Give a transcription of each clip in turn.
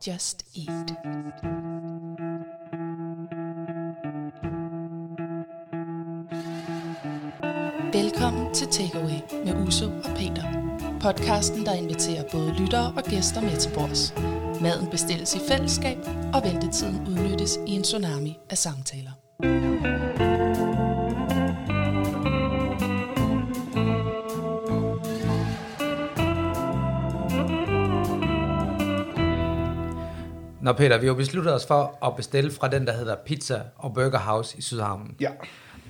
Just eat. Velkommen til Takeaway med Uso og Peter. Podcasten, der inviterer både lyttere og gæster med til bords. Maden bestilles i fællesskab, og ventetiden udnyttes i en tsunami af samtaler. Nå Peter, vi har jo besluttet os for at bestille fra den, der hedder Pizza og Burger House i Sydhavnen. Ja.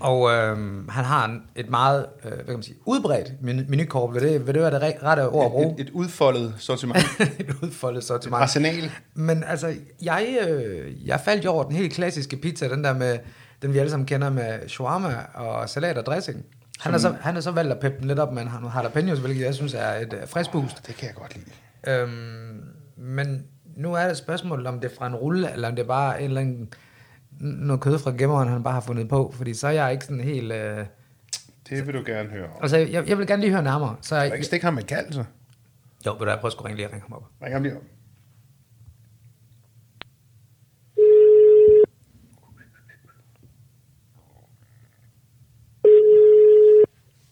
Og øhm, han har en, et meget, øh, hvad kan man sige, udbredt menu- menukort. Vil det, vil det være det re- rette ord at bruge? Et, et udfoldet sortiment. et udfoldet sortiment. Arsenal. Men altså, jeg, øh, jeg faldt jo over den helt klassiske pizza, den der med, den vi alle sammen kender med shawarma og salat og dressing. Han har, så, han har så valgt at peppe den lidt op med nogle jalapenos, hvilket jeg synes er et øh, frisk boost. Det kan jeg godt lide. Øhm, men nu er det spørgsmålet, om det er fra en rulle, eller om det er bare en eller anden, noget kød fra gemmeren, han bare har fundet på. Fordi så er jeg ikke sådan helt... Øh, Det vil du gerne høre om. altså, jeg, jeg vil gerne lige høre nærmere. Så Kan du jeg, ikke stikke ham med kald, så? jo, vil du have, prøv at skulle ringe lige og ringe ham op. Ring ham lige om.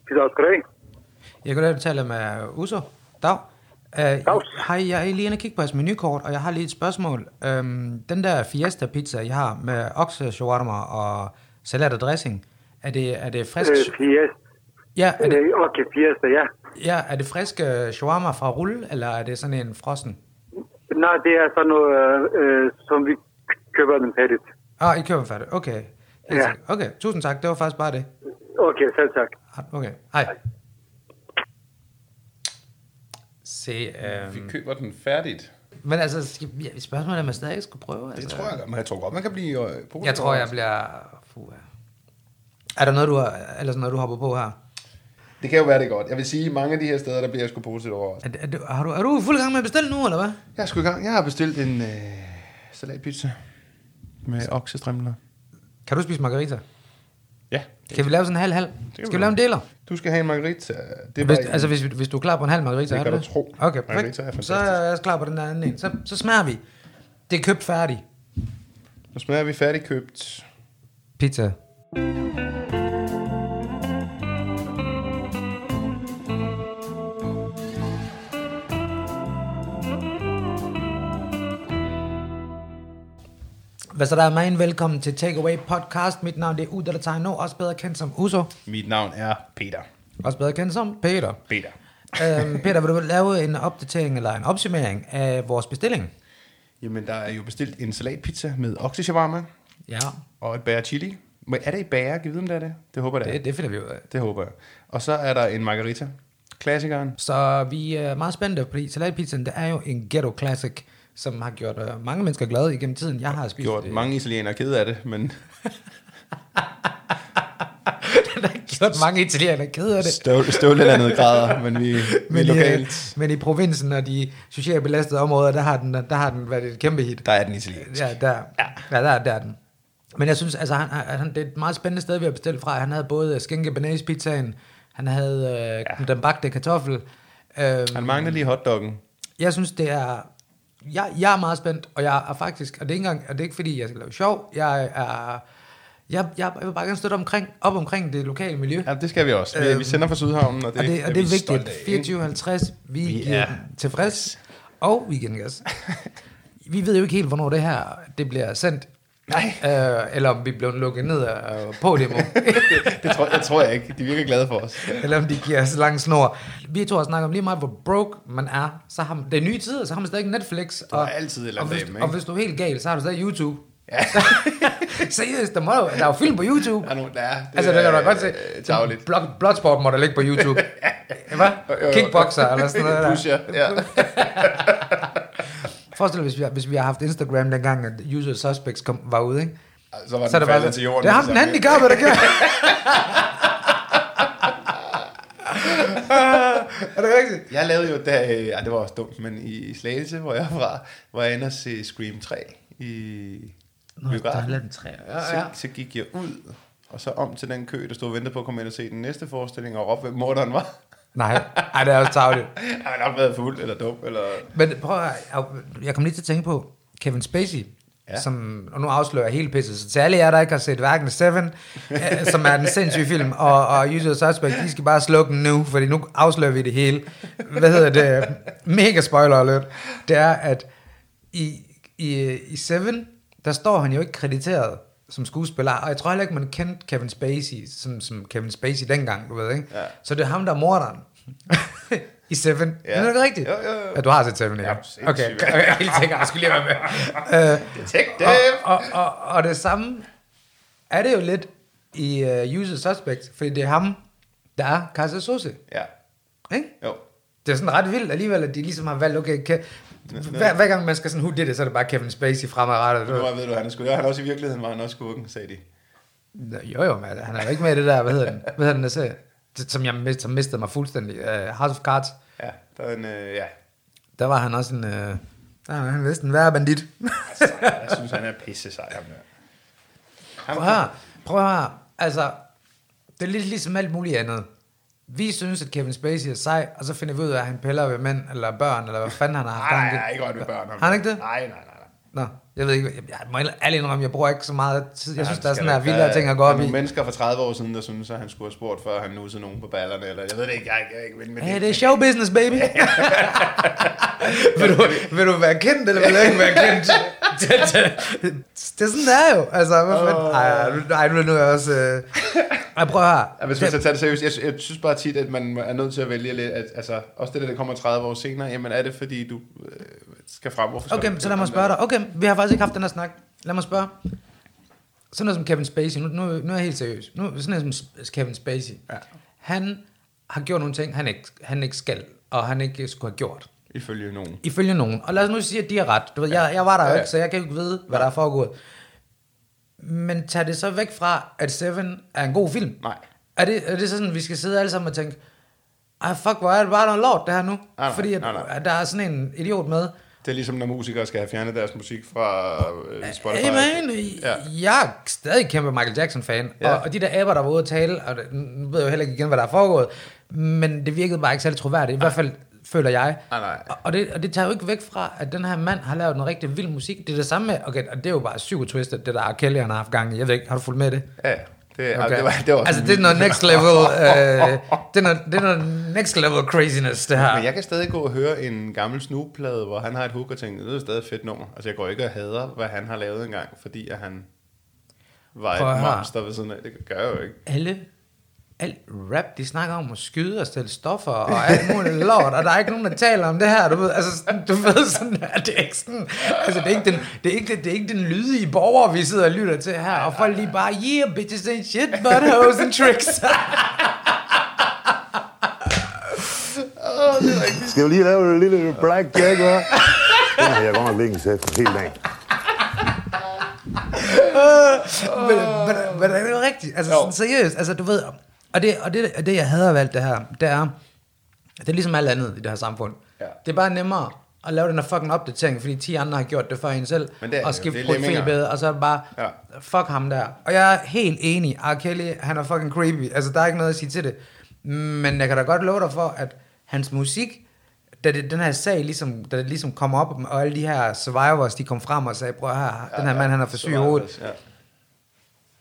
Peter, skal du have? Jeg kan da tale med Uso. Dag. Øh, Dags. hej, jeg er lige inde og kigge på jeres menukort, og jeg har lige et spørgsmål. Øhm, den der fiesta pizza, jeg har med okse, shawarma og salat og dressing, er det, er det frisk... Øh, Fiesta. ja, er det, Øh, okay, Fiesta, ja. ja, er det frisk øh, shawarma fra rulle, eller er det sådan en frossen? Nej, det er sådan noget, øh, øh, som vi køber den færdigt. Ah, I køber færdigt. Okay. Helt Ja. sikkert. Okay, tusind tak. Det var faktisk bare det. Okay, selv tak. Ah, Okay, hej. Se, øh, Vi køber den færdigt. men altså, skal- ja, spørgsmålet er, om jeg stadig skulle prøve? Det Altså. tror jeg, men jeg tror godt, man kan blive øh, positiv. Jeg tror, jeg bliver... Puh, ja. Er der noget, du har, ellers noget, du hopper på her? Det kan jo være det er godt. Jeg vil sige, mange af de her steder, der bliver jeg sgu positiv over. Er, er, du- har du, er du i fuld gang med at bestille nu, eller hvad? Jeg er sgu i gang. Jeg har bestilt en øh, salatpizza med oksestrimler. Kan du spise margarita? Ja. Kan vi lave sådan en halv-halv? vi Skal vi lave en deler? Du skal have en margarita. Det er Hvis, bare en- altså, hvis, hvis du er klar på en halv margarita, Det er kan du du tro. Okay, perfekt. Margarita er Så fantastisk. er jeg også klar på den der anden en. Så, så smager vi. Det er købt færdigt. Nu smager vi færdigkøbt. Pizza. Hvad så der er mig velkommen til Takeaway Podcast. Mit navn det er Uda Tegno, også bedre kendt som Uso. Mit navn er Peter. Også bedre kendt som Peter. Peter. øhm, Peter, vil du lave en opdatering eller en opsummering af vores bestilling? Jamen, der er jo bestilt en salatpizza med okseshawarma Ja, og et bær chili. Men er det i bær? Kan vi vide, om det er det? Det håber jeg, det er. det, det finder vi ud af. Det håber jeg. Og så er der en margarita. Klassikeren. Så vi er meget spændte, fordi salatpizzaen, det er jo en ghetto classic, som har gjort øh, mange mennesker glade igennem tiden. Jeg har spist øh, Gjort det. mange italienere kede af det, men Den har gjort mange italienere kede af det. støv, støvlet er noget grader, men vi, vi Men, er i, øh, lokalt. men i provinsen og de socialt belastede områder, der har den, der har den været et kæmpe hit. Der er den italiensk. Ja, der, ja. ja der, der er den. Men jeg synes, altså, han, han, det er et meget spændende sted, vi har bestilt fra. Han havde både skinke banase pizzaen, han havde øh, ja. den bagte kartoffel. Øh, Han mangler lige hotdoggen. Jeg synes, det er... Jeg, jeg er meget spændt, og jeg er faktisk... Og det er ikke, engang, og det er ikke fordi, jeg skal lave sjov. Jeg er... Jeg, jeg, jeg vil bare gerne støtte omkring, op omkring det lokale miljø. Ja, det skal vi også. Vi, vi sender fra Sydhavnen, og det, og Øhm. det, og det vi er vigtigt. stolte af, ikke? 24.50, vi, vi giver er- er tilfreds. Og weekendgas. vi ved jo ikke helt, hvornår det her det bliver sendt. Nej. Øh, eller om vi bliver lukket ned af øh, på demo. det tror, jeg tror jeg ikke. De virker glade for os. eller om de giver os lang snor. Vi to har snakket om lige meget, hvor broke man er. Så har man, det er nye tider, så har man stadig Netflix. Du har altid et eller og, andet hvis, derhjemme, og ikke? hvis du er helt gal, så har du stadig YouTube. Ja. Seriøst, der, må jo, der er jo film på YouTube. Der er nogen, øh, der er. altså, det kan du da godt se. Dagligt. Blot, Bloodsport må der ligge på YouTube. Hvad? Jo, jo, jo. Kickboxer eller sådan noget. der. Pusher, ja. Forestil dig, hvis vi, har- hvis vi har haft Instagram dengang, at Usual Suspects kom, var ude, ikke? Så var den Så er det bare, faldet til jorden. det er ham den sammen. handicappede, der gør. er det rigtigt? Jeg lavede jo, da, øh, ej, det var også dumt, men i Slagelse, hvor jeg er fra, var jeg inde og se Scream 3 i Nå, der er lavet en træer. Ja, ja. Så, så gik jeg ud, og så om til den kø, der stod og ventede på at komme ind og se den næste forestilling, og råbte, hvem morderen var. Nej, Ej, det er også tageligt. Har han nok været fuld eller dum? Eller... Men prøv at, jeg- jeg kom lige til at tænke på Kevin Spacey, ja. Ja. som, og nu afslører jeg hele pisset, så til alle jer, der ikke har set hverken Seven, øh, som er den sindssyge film, og, og Usual Suspect, de skal bare slukke den nu, fordi nu afslører vi det hele. Hvad hedder det? Mega spoiler alert. Det er, at i, i, i Seven, der står han jo ikke krediteret som skuespiller, og jeg tror heller ikke, man kendte Kevin Spacey, som, som Kevin Spacey dengang, du ved, ikke? Ja. Så det er ham, der er morderen. I Seven. Ja. Ja. Er det rigtigt? Jo, jo, jo. Ja, du har set Seven, ja. Ja, ja sindssygt. okay, okay, jeg er helt sikker, jeg skulle lige være med. Øh, Detective! og, og, og, og det samme er det jo lidt i uh, User Suspect, fordi det er ham, der er Kaiser Sose. Ja, Ikke? jo. Det er sådan ret vildt alligevel, at de ligesom har valgt, okay, kan, hver, hver gang man skal sådan, who did it, så er det bare Kevin Spacey fremadrettet. Nu ved du, han er sgu. Ja, han også i virkeligheden var han også skurken, sagde de. Nå, Jo jo, men han er jo ikke med i det der, hvad hedder den, hvad hedder den der serie? Det- Som jeg mist, som mistede mig fuldstændig. Uh, House of Cards. Ja, der er en, øh, ja. Der var han også en, uh, der var han næsten værre bandit. Altså, jeg synes, han er pisse sej, ham der. Ham, Prøv at høre, prøv at høre. Altså, det er lidt ligesom alt muligt andet. Vi synes, at Kevin Spacey er sej, og så finder vi ud af, at han piller ved mænd eller børn, eller hvad fanden han har haft. Nej, gang i. nej, jeg er ikke godt med børn. ham Har han der. ikke det? Nej, nej, nej. nej. Nå, jeg ved ikke, jeg, jeg må ærligt indrømme, jeg bruger ikke så meget tid. Jeg synes, Ja, der er sådan skal her da- vildere ting at gå der er op i. nogle mennesker for 30 år siden, der synes, at han skulle have spurgt, før han nussede nogen på ballerne, eller jeg ved det ikke, jeg, er ikke- jeg er ikke ven med Hey, det er show business, baby. vil, du, vil du være kendt, eller vil du ikke være kendt? det, det, det er sådan, det er jo. Altså, hvad fanden? Ej, nu- nej, nu er jeg også... Øh... Ej, prøv at høre. Ja, hvis man skal tage det seriøst, jeg, sy- jeg synes bare tit, at man er nødt til at vælge lidt, at, altså, også det der, der kommer 30 år senere, jamen er det fordi, du øh, skal frem? Hvorfor skal Okay, du- så lad mig spørge dig. Okay, vi har faktisk ikke haft den her snak. Lad mig spørge. Sådan noget som Kevin Spacey, nu, nu, nu er jeg helt seriøs. Nu, sådan noget som S- Kevin Spacey. Ja. Han har gjort nogle ting, han ikke, han ikke skal, og han ikke skulle have gjort. Ifølge nogen. Ifølge nogen. Og lad os nu sige, at de har ret. Du ved, jeg, jeg var der jo Ja, ja. ikke, så jeg kan jo ikke vide, hvad der er foregået. Men tag det så væk fra, at Seven er en god film. Nej. Er det, er det så sådan, at vi skal sidde alle sammen og tænke, ej fuck, hvor er det bare noget lort det her nu? nej, Fordi at, nej, nej. at der er sådan en idiot med. Det er ligesom, når musikere skal have fjernet deres musik fra øh, Spotify. Hey man, ja. Ja. jeg er stadig kæmpe Michael Jackson-fan, ja. Ja. og, og de der aber, der var ude at tale, og det, nu ved jeg jo heller ikke igen, hvad der er foregået, men det virkede bare ikke særlig troværdigt, i hvert fald føler jeg. Nej, nej. Og, og, det, og det tager jo ikke væk fra, at den her mand har lavet en rigtig vild musik. Det er det samme med, okay, og det er jo bare psykotwisted, det der R. Kelly, han har haft gang i. Jeg ved ikke, har du fulgt med i det? Ja, det, Okay. okay. det, var, det var altså, det er noget next level, øh, det, er noget, det er noget next level craziness, det her. Men jeg kan stadig gå og høre en gammel Snoop-plade, hvor han har et hook og tænke, det er stadig et fedt nummer. Altså, jeg går ikke og hader, hvad han har lavet engang, fordi at han var Prøv at et høre. monster ved siden af. Det gør jeg jo ikke. alle alt rap, de snakker om at skyde og stille stoffer og alt muligt lort, og der er ikke nogen, der taler om det her, du ved, altså, sådan- du ved sådan, at det er ikke sådan, altså, det er ikke den, det er ikke, det, det er ikke den lydige borger, vi sidder og lytter til her, og folk lige bare, yeah, bitches ain't shit, but hoes and tricks. Skal vi lige lave en lille blackjack, hva'? Den har jeg godt nok liggen til hele dagen. men, men, men det er jo rigtigt. Altså, sådan, seriøst. Altså, du ved, og det, og, det, og det, jeg hader ved alt det her, det er, det er ligesom alt andet i det her samfund. Ja. Det er bare nemmere at lave den her fucking opdatering, fordi 10 andre har gjort det for en selv, Men det er det jo. og skifte Det er lemminger. profilbillede, og så er det bare, ja. Ja. fuck ham der. Og jeg er helt enig, R. Kelly, han er fucking creepy, altså der er ikke noget at sige til det. Men jeg kan da godt love dig for, at hans musik, da det, den her sag ligesom, da det ligesom kom op, og alle de her survivors, de kom frem og sagde, prøv her, den her mand, han er for syg i hovedet Ja.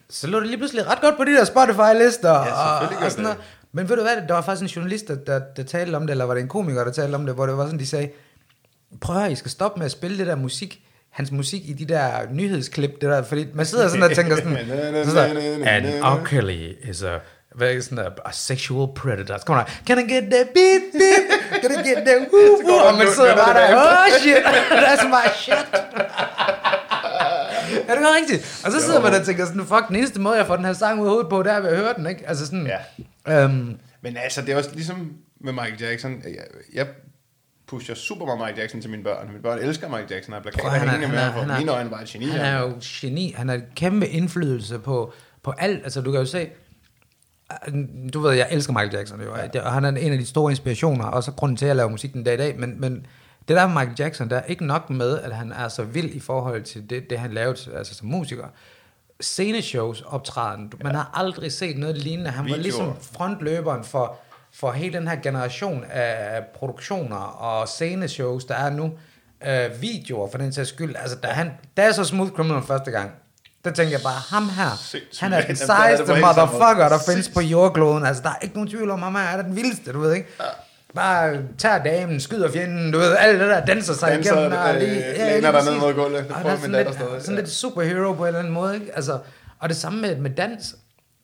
så lå det lige pludselig ret godt på de der Spotify-lister ja, og, selvfølgelig gør og sådan det. noget. Men ved du hvad, der var faktisk en journalist, der, der, der talte om det, eller var det en komiker, der talte om det, hvor det var sådan, de sagde, prøv at høre, I skal stoppe med at spille det der musik, hans musik i de der nyhedsklip, det der, fordi man sidder sådan og tænker sådan, sådan der, and R. Kelly is a, hvad er det, sådan der, a sexual predator, så kommer der, can I get that beep, beep, can I get that woo, woo, der og man en sidder løn, bare der er der, tilbage. oh shit, that's my shit. Er det ikke rigtigt? Og så sidder man og tænker sådan, fuck, den eneste måde, jeg får den her sang ud af hovedet på, det er ved at høre den, ikke? Altså sådan, ja. øhm, Men altså, det er også ligesom med Michael Jackson. Jeg, jeg pusher super meget Michael Jackson til mine børn. Mine børn elsker Michael Jackson, og har plakater prøv, han, er, hængende han, med er, ham, for han, er, mine øjne var et geni. han er jo geni, han har kæmpe indflydelse på, på alt, altså du kan jo se, du ved, jeg elsker Michael Jackson, jo, ja. og han er en af de store inspirationer, og så grunden til, at jeg laver musik den dag i dag, men, men det der med Michael Jackson, der er ikke nok med, at han er så vild i forhold til det, det han lavede altså som musiker. Sceneshows optræden, du- man har aldrig set noget lignende. Han var Videoer. ligesom frontløberen for for hele den her generation af produktioner og sceneshows, der er nu, øh, videoer for den sags skyld. Altså, da, han, da jeg så Smooth Criminal første gang, der tænkte jeg bare, ham her, Sindssygt, han er mand. den Jamen, der er det sejeste på hele samme måde. motherfucker, der findes på jordkloden. Altså, der er ikke nogen tvivl om, ham her er den vildeste, du ved, ikke? Bare tager damen, skyder fjenden, du ved, alt det der, danser sig Danser, igennem. og øh, læner lige dig ned præcis. mod gulvet. Det Og prøver der er min sådan datter lidt, stadig, sådan ja. lidt superhero på en eller anden måde, ikke? Altså, og det samme med, med dans.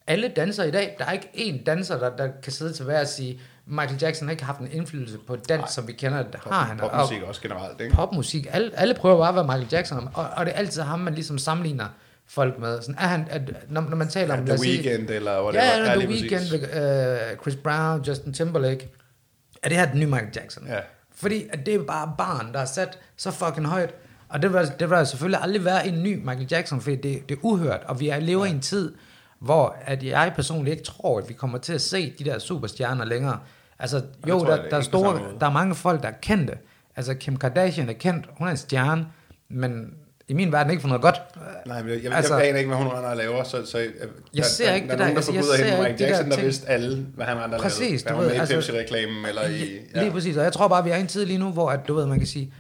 Alle danser i dag, der er ikke én danser, der, der kan sidde til hver og sige, Michael Jackson har ikke haft en indflydelse på dans, som vi kender det. Har ah, han. Og- Popmusik også generelt, ikke? popmusik. Alle, alle prøver bare at være Michael Jackson, om, og, og det er altid ham, man ligesom sammenligner folk med. Sådan, er han, er, når, når man taler om... The lad os sige- Weeknd eller whatever. Ja, ja, Ja, The lige præcis. Weeknd, uh, Chris Brown, Justin Timberlake. Er det her den nye Michael Jackson? Ja. Fordi at det er bare barn, der er sat så fucking højt. Og det vil, det vil selvfølgelig aldrig være en ny Michael Jackson, fordi det, det er uhørt. Og vi er- lever ja. i en tid, hvor at jeg personligt ikke tror, at vi kommer til at se de der superstjerner længere. Altså, jo, tror jeg der, da der, er ikke på store, samme måde. der er mange folk, der er kendte. Altså, Kim Kardashian er kendt, hun er en stjerne, men i min verden ikke for noget godt. Nej, men jeg, jeg, altså, Altså- jeg aner ikke, hvad hun render og laver, så, så jeg, Jeg ser ikke der, det der, er der- nogen, der altså, jeg forguder ser hende ikke Mike de der Jackson, der ting. vidste alle, hvad han andre Præcis, lavede. du Hvad hun ved, med i altså- Pepsi-reklamen, eller i... Ja. Lige præcis, og jeg tror bare, vi er i en tid lige nu, hvor at, du ved, man kan sige,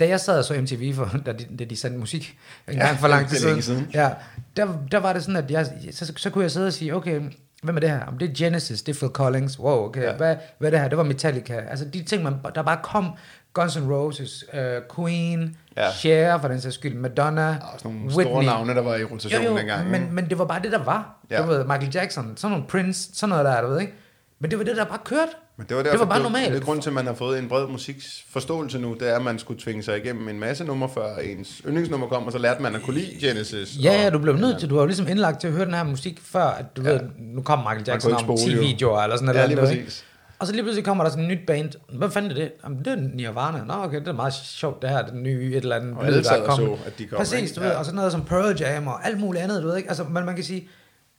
da jeg sad og så MTV, for, da, de, da de sendte musik en Ja, gang for lang tid det er siden, længe siden. Ja, der, der var det sådan, at jeg, så, så kunne jeg sidde og sige, okay, hvem er det her? Jamen, det er Genesis, det er Phil Collins, wow, okay, Ja. ja. hvad, hvad er det her? Det var Metallica. Altså de ting, man, der bare kom, Guns N' Roses, uh, Queen, Ja. ja. Cher for den sags skyld, Madonna, Der er også nogle store navne, der var i rotation jo, jo, dengang. Men, men det var bare det, der var. Ja. Ja. Du ved, Michael Jackson, sådan nogle Prince, sådan noget der, du ved, ikke? Men det var det, der bare kørte. Men det var, det derfor, var bare Det er normalt. grunden til, at man har fået en bred musiksforståelse nu, det er, at man skulle tvinge sig igennem en masse numre, før ens yndlingsnummer kom, og så lærte man at kunne lide Genesis. Ja, ja, og- du blev nødt til, du var jo ligesom indlagt til at høre den her musik, før at du ja. ved, nu kom Michael Jackson kunne ikke om 10 spole, jo. videoer eller sådan Ja, noget. lige andet, ikke? præcis. Og så lige pludselig kommer der sådan en nyt band. Hvad fanden er det? Jamen, det er Nirvana. Nå, okay, det er meget sjovt, det her, det nye et eller andet. Og alle lyd, der sad er og kommet. så, at de kom, Præcis, ikke? du ved, Ja. og sådan noget som Pearl Jam og alt muligt andet, du ved ikke. Altså, men man kan sige,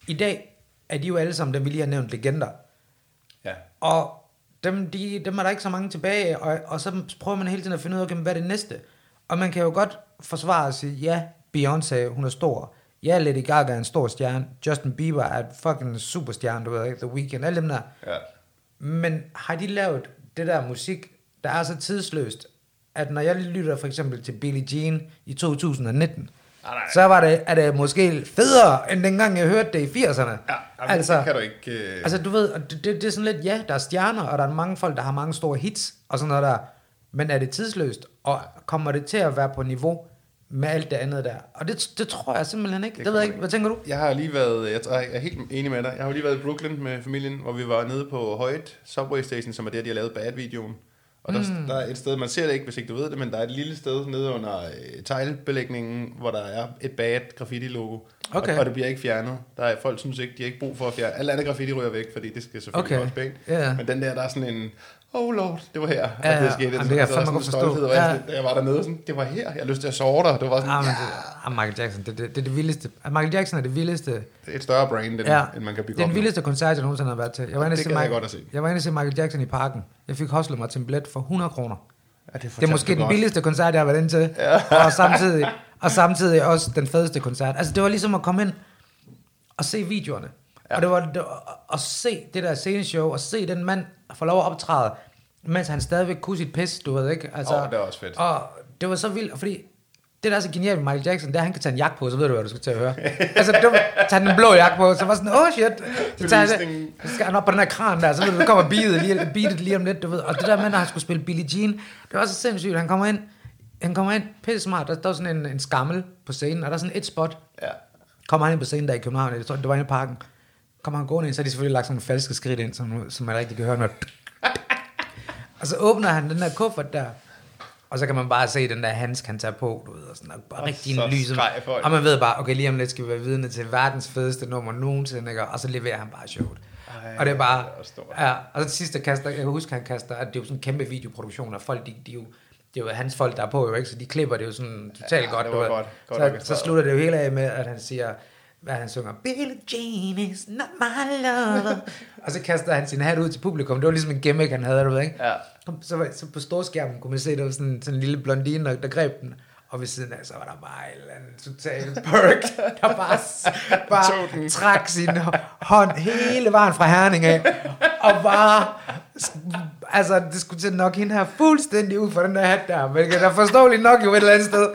i dag er de jo alle sammen, dem vi lige har nævnt, legender. Ja. Og dem, de, dem er der ikke så mange tilbage af, og, og så prøver man hele tiden at finde ud af, okay, hvad er det næste? Og man kan jo godt forsvare og sige, ja, Beyoncé, hun er stor. Ja, Lady Gaga er en stor stjerne. Justin Bieber er et fucking superstjerne, du ved ikke? The Weeknd, alle dem der. Ja. Men har de lavet det der musik, der er så tidsløst, at når jeg lytter for eksempel til Billie Jean i 2019, Ah, nej. så var det, er det måske federe, end dengang jeg hørte det i Altså, 80'erne. Ja, jamen, det kan du ikke, øh. Altså, du ved, og det, det, det er sådan lidt, ja, der er stjerner, og der er mange folk, der har mange store hits, og sådan noget der. Men er det tidsløst, og kommer det til at være på niveau med alt det andet der? Og det, det tror jeg simpelthen ikke. Det, det ved kommer jeg ikke. Hvad tænker du? Jeg har lige været, jeg tror- jeg er helt enig med dig, jeg har jo lige været i Brooklyn med familien, hvor vi var nede på Højt Subway Station, som er der, de har lavet Bad-videoen. Og der, mm. der er et sted, man ser det ikke, hvis ikke du ved det, men der er et lille sted nede under øh, teglbelægningen, hvor der er et bad graffiti-logo. Okay. Og, og, det bliver ikke fjernet. Der er, folk synes ikke, de har ikke brug for at fjerne. Alt andet graffiti ryger væk, fordi det skal selvfølgelig Okay. også pænt. Ja. Men den der, der er sådan en, oh lord, det var her, Ja, at det ja. skete. Jamen, Sådan, det kan jeg så der fandme er godt sådan en forstå. stolthed, og jeg Ja. sådan- da jeg var dernede, sådan, det var her, jeg har lyst til at sove dig. Det var sådan, Ah, men ja, det, ah, Michael Jackson, det, det, det er det vildeste. Ah, Michael Jackson er det vildeste det er et større brand, end, ja. end man kan bygge det er den op nu. vildeste koncert, jeg nogensinde har været til. Jeg var inde Det og se gad jeg Michael- godt at se. Jeg var inde og se Michael Jackson i parken. Jeg fik hostlet mig til en billet for 100 kroner. Ja, det, Det er måske den billigste koncert, jeg har været inde til. Ja. Og, samtidig, og samtidig også den fedeste koncert. Altså, det var ligesom at komme ind og se videoerne. Ja. Og det var, det var at se det der sceneshow, og se den mand få lov at optræde, mens han stadigvæk kunne sit pis, du ved ikke? Altså, Åh, det er også fedt. Og det var så vildt, fordi det, der er så genialt med Michael Jackson, det er, at han kan tage en jakke på, så ved du, hvad du skal til at høre. altså, du tager den blå jakke på, så var sådan, oh shit. Så, tager han, Belysningen. så skal han op på den her kran der, så ved du, der kommer beatet lige, beatet lige om lidt, du ved. Og det der med, når han skulle spille Billie Jean, det var så sindssygt. Han kommer ind, han kommer ind, pisse smart, der står sådan en, en skammel på scenen, og der er sådan et spot, Ja. Kommer han ind på scenen der i København, jeg tror, det var inde i parken. Kommer han gående ind, så har de selvfølgelig lagt sådan nogle falske skridt ind, som, som man rigtig kan høre noget. og så åbner han den der kuffert der, og så kan man bare se den der handsk, han tager på, du ved, og sådan, og bare rigtig så en lys. skreg folk. Og man ved bare, okay, lige om lidt skal vi være vidne til verdens fedeste nummer nogensinde, ikke? og så leverer han bare sjovt. Ej, og det er bare, det er også stort. ja, og så til sidst, der kaster, jeg kan huske, han kaster, at det er jo sådan en kæmpe videoproduktion, og folk, de, de er jo, det er jo hans folk, der er på, jo, ikke? så de klipper det jo sådan totalt Ja, godt. det du var ved. godt. Godt så, så orkestreret. slutter det jo hele af med, at han siger, hvad han synger, Billie Jean is not my lover. og så kaster han sin hat ud til publikum. Det var ligesom en gimmick, han havde, du ved, ikke? Ja. Så, var- så på storskærmen kunne man se, der var sådan, sådan en lille blondine, der, der greb den. Og ved siden af, så var der bare en eller anden total perk, der bare, Tog den. bare trak sin hånd hele vejen fra Herning af. og bare, altså det skulle til nok hende her fuldstændig ud for den der hat der, hvilket er forståeligt nok jo et eller andet sted.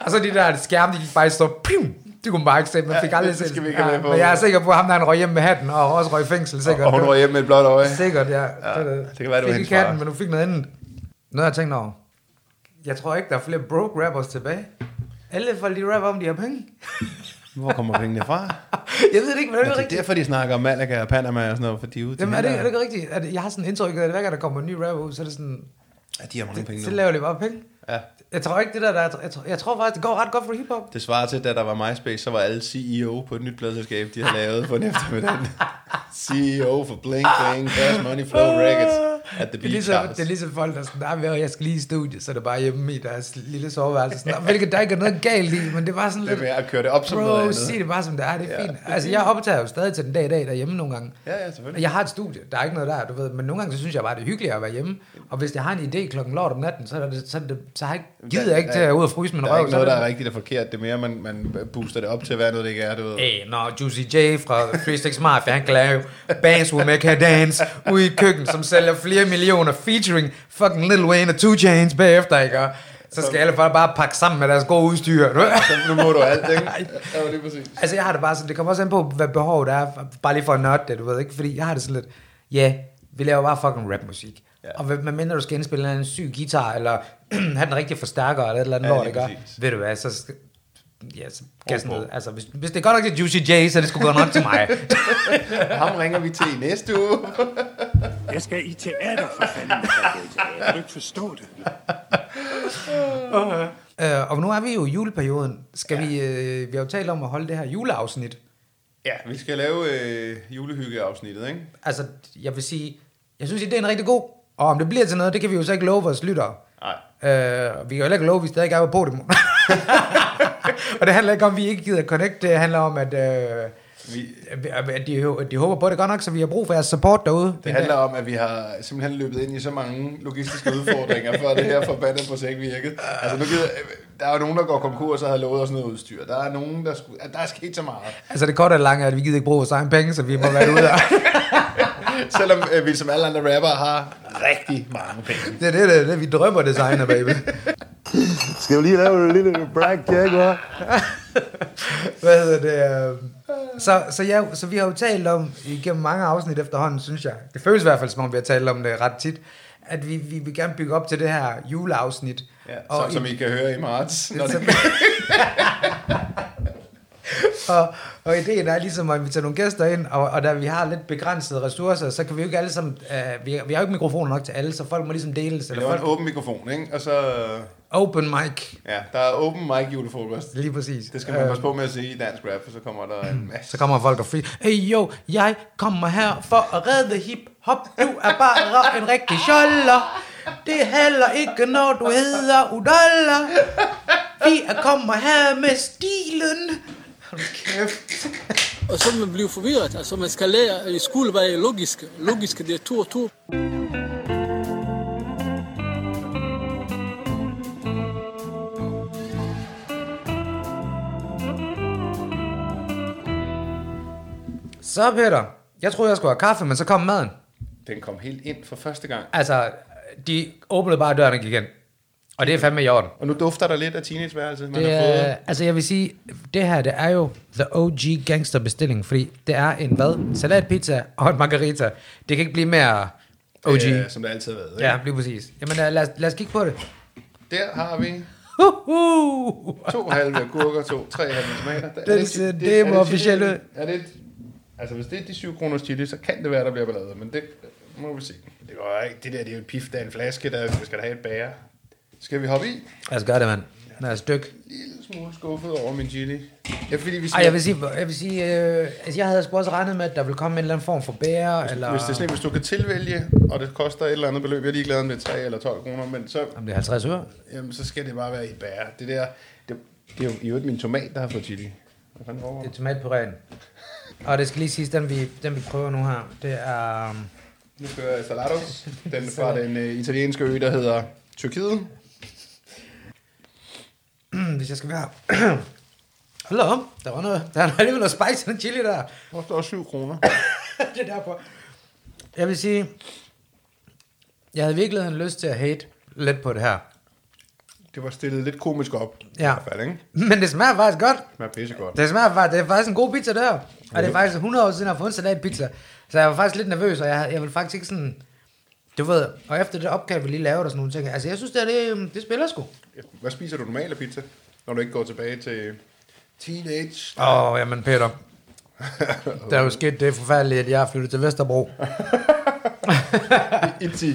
Og så de der skærme, de gik bare i stå, pim, det kunne man bare ikke se, man Ja, fik aldrig det set. skal vi ikke have med på. men jeg er sikker på, at ham der han røg hjem med hatten, og også røg i fængsel, sikkert. Og hun var hjemme med et blåt øje. Sikkert, ja. ja det kan være, det var fik hendes ikke hatten, far. men du fik noget andet. Noget, jeg tænkte over. Jeg tror ikke, der er flere broke rappers tilbage. Alle folk, de rapper om, de har penge. Hvor kommer pengene fra? Jeg ved det ikke, men det er Ja, ikke det er rigtigt. derfor, de snakker om Malaga og Panama og sådan noget, for de er ude til Jamen, er det, er det hænderne. ikke rigtigt? Er det, jeg har sådan indtryk, at hver gang der kommer en ny rapper ud, så er det sådan, Ja, de har mange penge så nu. laver de bare penge. Ja. Jeg tror ikke, det der, der er, jeg, tror, jeg tror faktisk, det går ret godt for hiphop. Det svarer til, da der var MySpace, så var alle CEO på et nyt pladselskab, de har lavet for en eftermiddag. CEO for Blink Bling, Cash Money Flow Records at the det, er Beach ligesom, House. det er ligesom folk, der er sådan, nej, jeg skal lige i studiet, så er det bare hjemme i deres lille soveværelse. Sådan, "Nå, hvilket der ikke er noget galt i, men det var sådan Det er lidt, mere at køre det op som noget bro, sig andet. det bare som det er, det er Ja, fint. det er Altså, jeg optager jo stadig til den dag i dag derhjemme nogle gange. Ja, ja, selvfølgelig. Jeg har et studie, der er ikke noget der, du ved, men nogle gange så synes jeg bare, det er hyggeligere at være hjemme. Og hvis jeg har en idé klokken lort om natten, så, er det, så, er det, så har jeg ikke, gider jeg ikke til at ud og fryse min der røv. Der er ikke så er noget, det der er rigtigt og forkert. Det er mere, man, man booster det op til, hvad noget det ikke er, du ved. Hey, når Juicy J fra 36 Mafia, han kan lave Bass Will Make Her Dance ude i køkken, som sælger flere millioner, featuring fucking Lil Wayne og 2 Chainz bagefter, ikke? Og Så skal alle folk bare pakke sammen med deres gode udstyr. du ved. Så nu må du alt, ikke? Ja, det er præcis. altså, jeg har det bare sådan, det kommer også an på, hvad behovet er, for- bare lige for at nørde det, du ved ikke? Fordi jeg har det sådan lidt, ja, yeah, vi laver bare fucking rapmusik. Ja. Ja. Og hvad- medmindre du skal indspille en eller anden syg guitar, eller have den rigtige forstærker, eller et eller andet Ja, lort, lige ikke? Og præcis. Ved du hvad, så skal- Ja, så gas Hård på. ned. Altså, hvis, hvis det er godt nok til Juicy J, så er det skulle gå nok til mig. Ham ringer vi til i næste uge. Jeg skal i teater, for fanden. Jeg skal i teater. Kan du ikke forstå det? Øh, og nu er vi jo i juleperioden. Skal ja. vi, øh, vi har jo talt om at holde det her juleafsnit. Ja, vi skal lave øh, julehyggeafsnittet, ikke? Altså, jeg vil sige, jeg synes, idéen er rigtig god. Og om det bliver til noget, det kan vi jo så ikke love vores lyttere. Nej. Øh, vi kan jo heller ikke love, at vi stadig er på podium. og det handler ikke om, at vi ikke gider connect. Det handler om, at, øh, Vi, at, de, at de håber på det godt nok, så vi har brug for jeres support derude. det handler om, at vi har simpelthen løbet ind i så mange logistiske udfordringer, for at det her forbandede projekt virkede. Altså, nu gider, der er jo nogen, der går konkurs og har lovet os noget udstyr. Der er nogen, der, skulle, der er sket så meget. Altså, det korte og lange er, at vi gider ikke bruge vores egen penge, så vi må være ude. af- Selvom øh, vi som alle andre rappere har rigtig mange penge. det er det, det, er det, vi drømmer designer, baby. Skal vi lige lave en lille blackjack, hva'? Hvad hedder det? øhm, Så, så, ja, så vi har jo talt om, igennem mange afsnit efterhånden, synes jeg, det føles i hvert fald, som om vi har talt om det ret tit, at vi, vi vil gerne bygge op til det her juleafsnit. Ja, som, som i, I kan høre i marts. Når det, som, og, og ideen er ligesom at invitere nogle gæster ind, og, og da vi har lidt begrænsede ressourcer, så kan vi jo ikke alle sammen, øh, vi, vi har jo ikke mikrofoner nok til alle, så folk må ligesom deles, det eller var en folk, åben mikrofon, ikke? Og så, øh, open mic, ja, der er åben mic julefrokost. lige præcis. Det skal man Øh, Mm. passe på med at sige i dansk rap, for så kommer der en masse. Så kommer folk og fri. Hey yo, jeg kommer her for at redde hip-hop. Du er bare en rigtig sjoller. Det handler ikke, når du hedder Udolla. Vi er kommer her med stilen. Hold kæft. Og så man bliver forvirret. Altså man skal lære, i skole være logisk. Logisk, det er to og to. Så Peter, jeg troede, jeg skulle have kaffe, men så kom maden. Den kom helt ind for første gang. Altså, de åbnede bare døren og gik ind. Og det er fandme i orden. Og nu dufter der lidt af teenageværelset, man Det har fået. er, altså jeg vil sige, det her det er jo the OG gangster bestilling, fordi det er en hvad? Salatpizza og en margarita. Det kan ikke blive mere OG. Øh, som det altid har været. Ikke? Ja, lige præcis. Jamen øh, lad, os, lad os kigge på det. Der har vi Huhu! to halve gurker, to, tre halve tomater. Der- Er Den ser- det må er officielt chili? ud. Er det, altså hvis det er de 7 kroner chili, så kan det være, der bliver ballade, men det må vi se. Det går ikke. Det der, det er jo et pif, der er en flaske, der vi skal da have et bære. Skal vi hoppe i? Lad os gøre det, mand. Lad os dykke. Lille smule skuffet over min chili. Ja, fordi vi Ej, jeg vil sige, jeg, vil sige øh, altså, jeg havde sgu også regnet med, at der ville komme en eller anden form for bære, eller... Hvis, det er sådan, en, hvis du kan tilvælge, og det koster et eller andet beløb, jeg er ligeglad med 3 eller 12 kroner, men så, Jamen, det er 50 øre. jamen, så skal det bare være i et bære. Det der, det, det er jo i øvrigt min tomat, der har fået chili. Hvad fanden foregår Det er der? tomatpuréen. Og det skal lige siges, den vi, den vi prøver nu her, det er... øhm, Nu kører jeg Salados. Den er fra den øh, italienske ø, der hedder Tyrkiet. øh, hvis jeg skal være... Hold da op, der var noget, der var alligevel noget spice i den chili der. Koster også 7 kroner. det er derfor. Jeg vil sige, jeg havde i virkeligheden lyst til at hate lidt på det her. Det var stillet lidt komisk op. I Ja. hvert fald, ikke? Men det smager faktisk godt. Det smager pissegodt. Det smager faktisk, det er faktisk en god pizza der. Og det er faktisk 100 år siden, jeg har fået en salatpizza. Så jeg var faktisk lidt nervøs, og jeg, jeg ville faktisk ikke sådan... Du ved, og efter det opkald, vi lige lavede og sådan nogle ting. Altså, jeg synes, det, er, det, det spiller sgu. Hvad spiser du normalt af pizza, når du ikke går tilbage til teenage? Åh, oh, jamen Peter. Der er jo sket det forfærdelige, at jeg er flyttet til Vesterbro. Inti.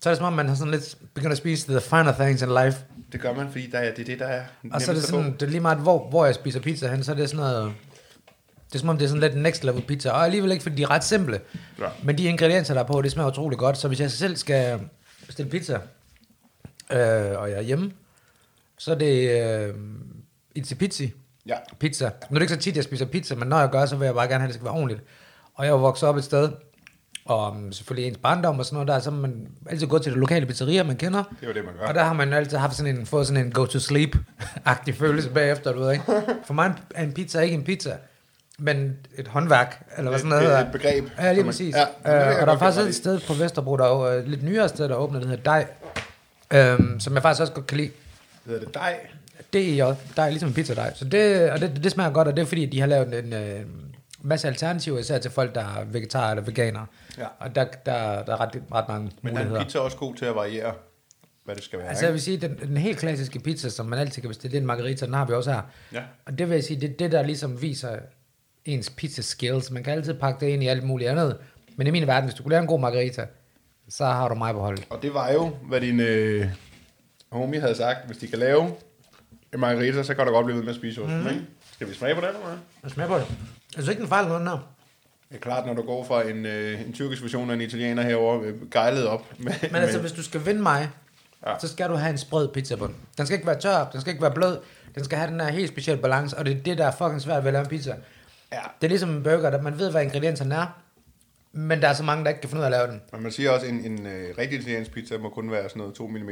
Så er det som om, man har sådan lidt begyndt at spise the finer things in life. Det gør man, fordi der er, det er det, der er Og så er det nemmest at få. sådan, det er lige meget, hvor, hvor jeg spiser pizza hen, så er det sådan noget... Det er som om, det er sådan lidt next level pizza, og alligevel ikke, fordi de er ret simple. Ja. Men de ingredienser, der er på, det smager utrolig godt. Så hvis jeg selv skal bestille pizza, øh, og jeg er hjemme, så er det øh, Itzy Pizzi Ja. pizza. Nu er det ikke så tit, jeg spiser pizza, men når jeg gør, så vil jeg bare gerne have, at det skal være ordentligt. Og jeg er jo vokset op et sted, og mm, selvfølgelig ens barndom og sådan noget der, så er man altid gået til det lokale pizzeria, man kender. Det er jo det, man gør. Og der har man altid haft sådan en, fået sådan en go-to-sleep-agtig følelse bagefter, du ved ikke. For mig er en pizza ikke en pizza, men et håndværk, eller hvad sådan noget Et- et hedder. begreb, Ja, lige som man- præcis. Ja, Ja, det kan jeg øh, og godt der er give faktisk dig et i. sted på Vesterbro, der er jo øh, et lidt nyere sted, der åbner, der hedder Dej, øhm, som jeg faktisk også godt kan lide. E Hedder det dej? DEJ, der er ligesom en pizzadej. Så det, og det, det smager godt, og det er fordi, de har lavet en øh, masse alternativer, især til folk, der er vegetarer eller veganere. Ja. Og der, der, der er ret, ret mange Men der muligheder. er pizza også god til at variere, hvad det skal være. Altså jeg Altså, vil sige, den, den helt klassiske pizza, som man altid kan bestille, det er en margarita, den har vi også her. Ja. Og det vil jeg sige, det er det, der ligesom viser ens pizza skills. Man kan altid pakke det ind i alt muligt andet. Men i min verden, hvis du kunne lave en god margarita, så har du mig på holdet. og det var jo, hvad din øh, homie havde sagt. Hvis de kan lave en margarita, så kan du godt blive ved med at spise osten, mm. ikke? Skal vi smage på den, eller hvad? Jeg smager på det. Jeg synes ikke, den fejler noget her. Det er klart, når du går fra en, øh, en tyrkisk version og en italiener herover øh, gejlet op. Med, Men altså, hvis du skal vinde mig, Ja. ja. så skal du have en sprød pizza på den. Den skal ikke være tør, den skal ikke være blød, den skal have den her helt speciel balance, og det er det, der er fucking svært ved at lave en pizza. Ja. Det er ligesom en burger, der man ved, hvad ingredienserne er, men der er så mange, der ikke kan finde ud af at lave den. Men man siger også, at en, en øh, rigtig italiensk pizza må kun være sådan noget 2 mm.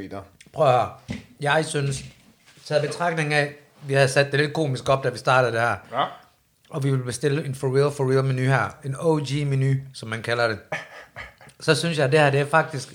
Prøv at høre. Jeg synes, taget i betragtning af, vi havde sat det lidt komisk op, da vi startede det her, Ja. og vi ville bestille en for real, for real menu her. En OG-menu, som man kalder det. Så synes jeg, at det her, det er faktisk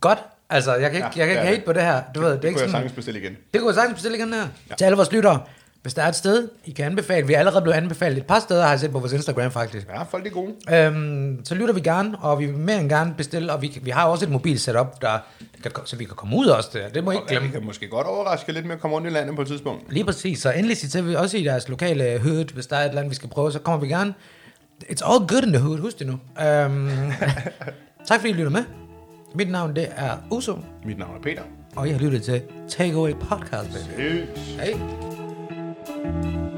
godt. Altså, jeg kan ikke, Ja, ja, jeg kan det ikke er hate det. på det her. Du ved, det, Det er kunne ikke sådan, jeg sagtens bestille igen. Det kunne jeg sagtens bestille igen her. Ja. Til alle vores lyttere. Hvis der er et sted, I kan anbefale. Vi er allerede blevet anbefalet et par steder, har jeg set på vores Instagram faktisk. Ja, folk er gode. Øhm, så lytter vi gerne, og vi vil mere end gerne bestille, og vi, vi har også et mobil setup, der kan, så vi kan komme ud også der. Det må I ikke Og vi glemme. kan måske godt overraske lidt med at komme rundt i landet på et tidspunkt. Lige præcis, så endelig sig til vi også i deres lokale øh, hood, hvis der er et eller andet, vi skal prøve, så kommer vi gerne. It's all good in the hood, husk det nu. Øhm, tak fordi I lytter med. Mit navn det er Uso, Mit navn er Peter. og jeg har lyttet til Takeaway Podcast. Baby. Peace. Hey.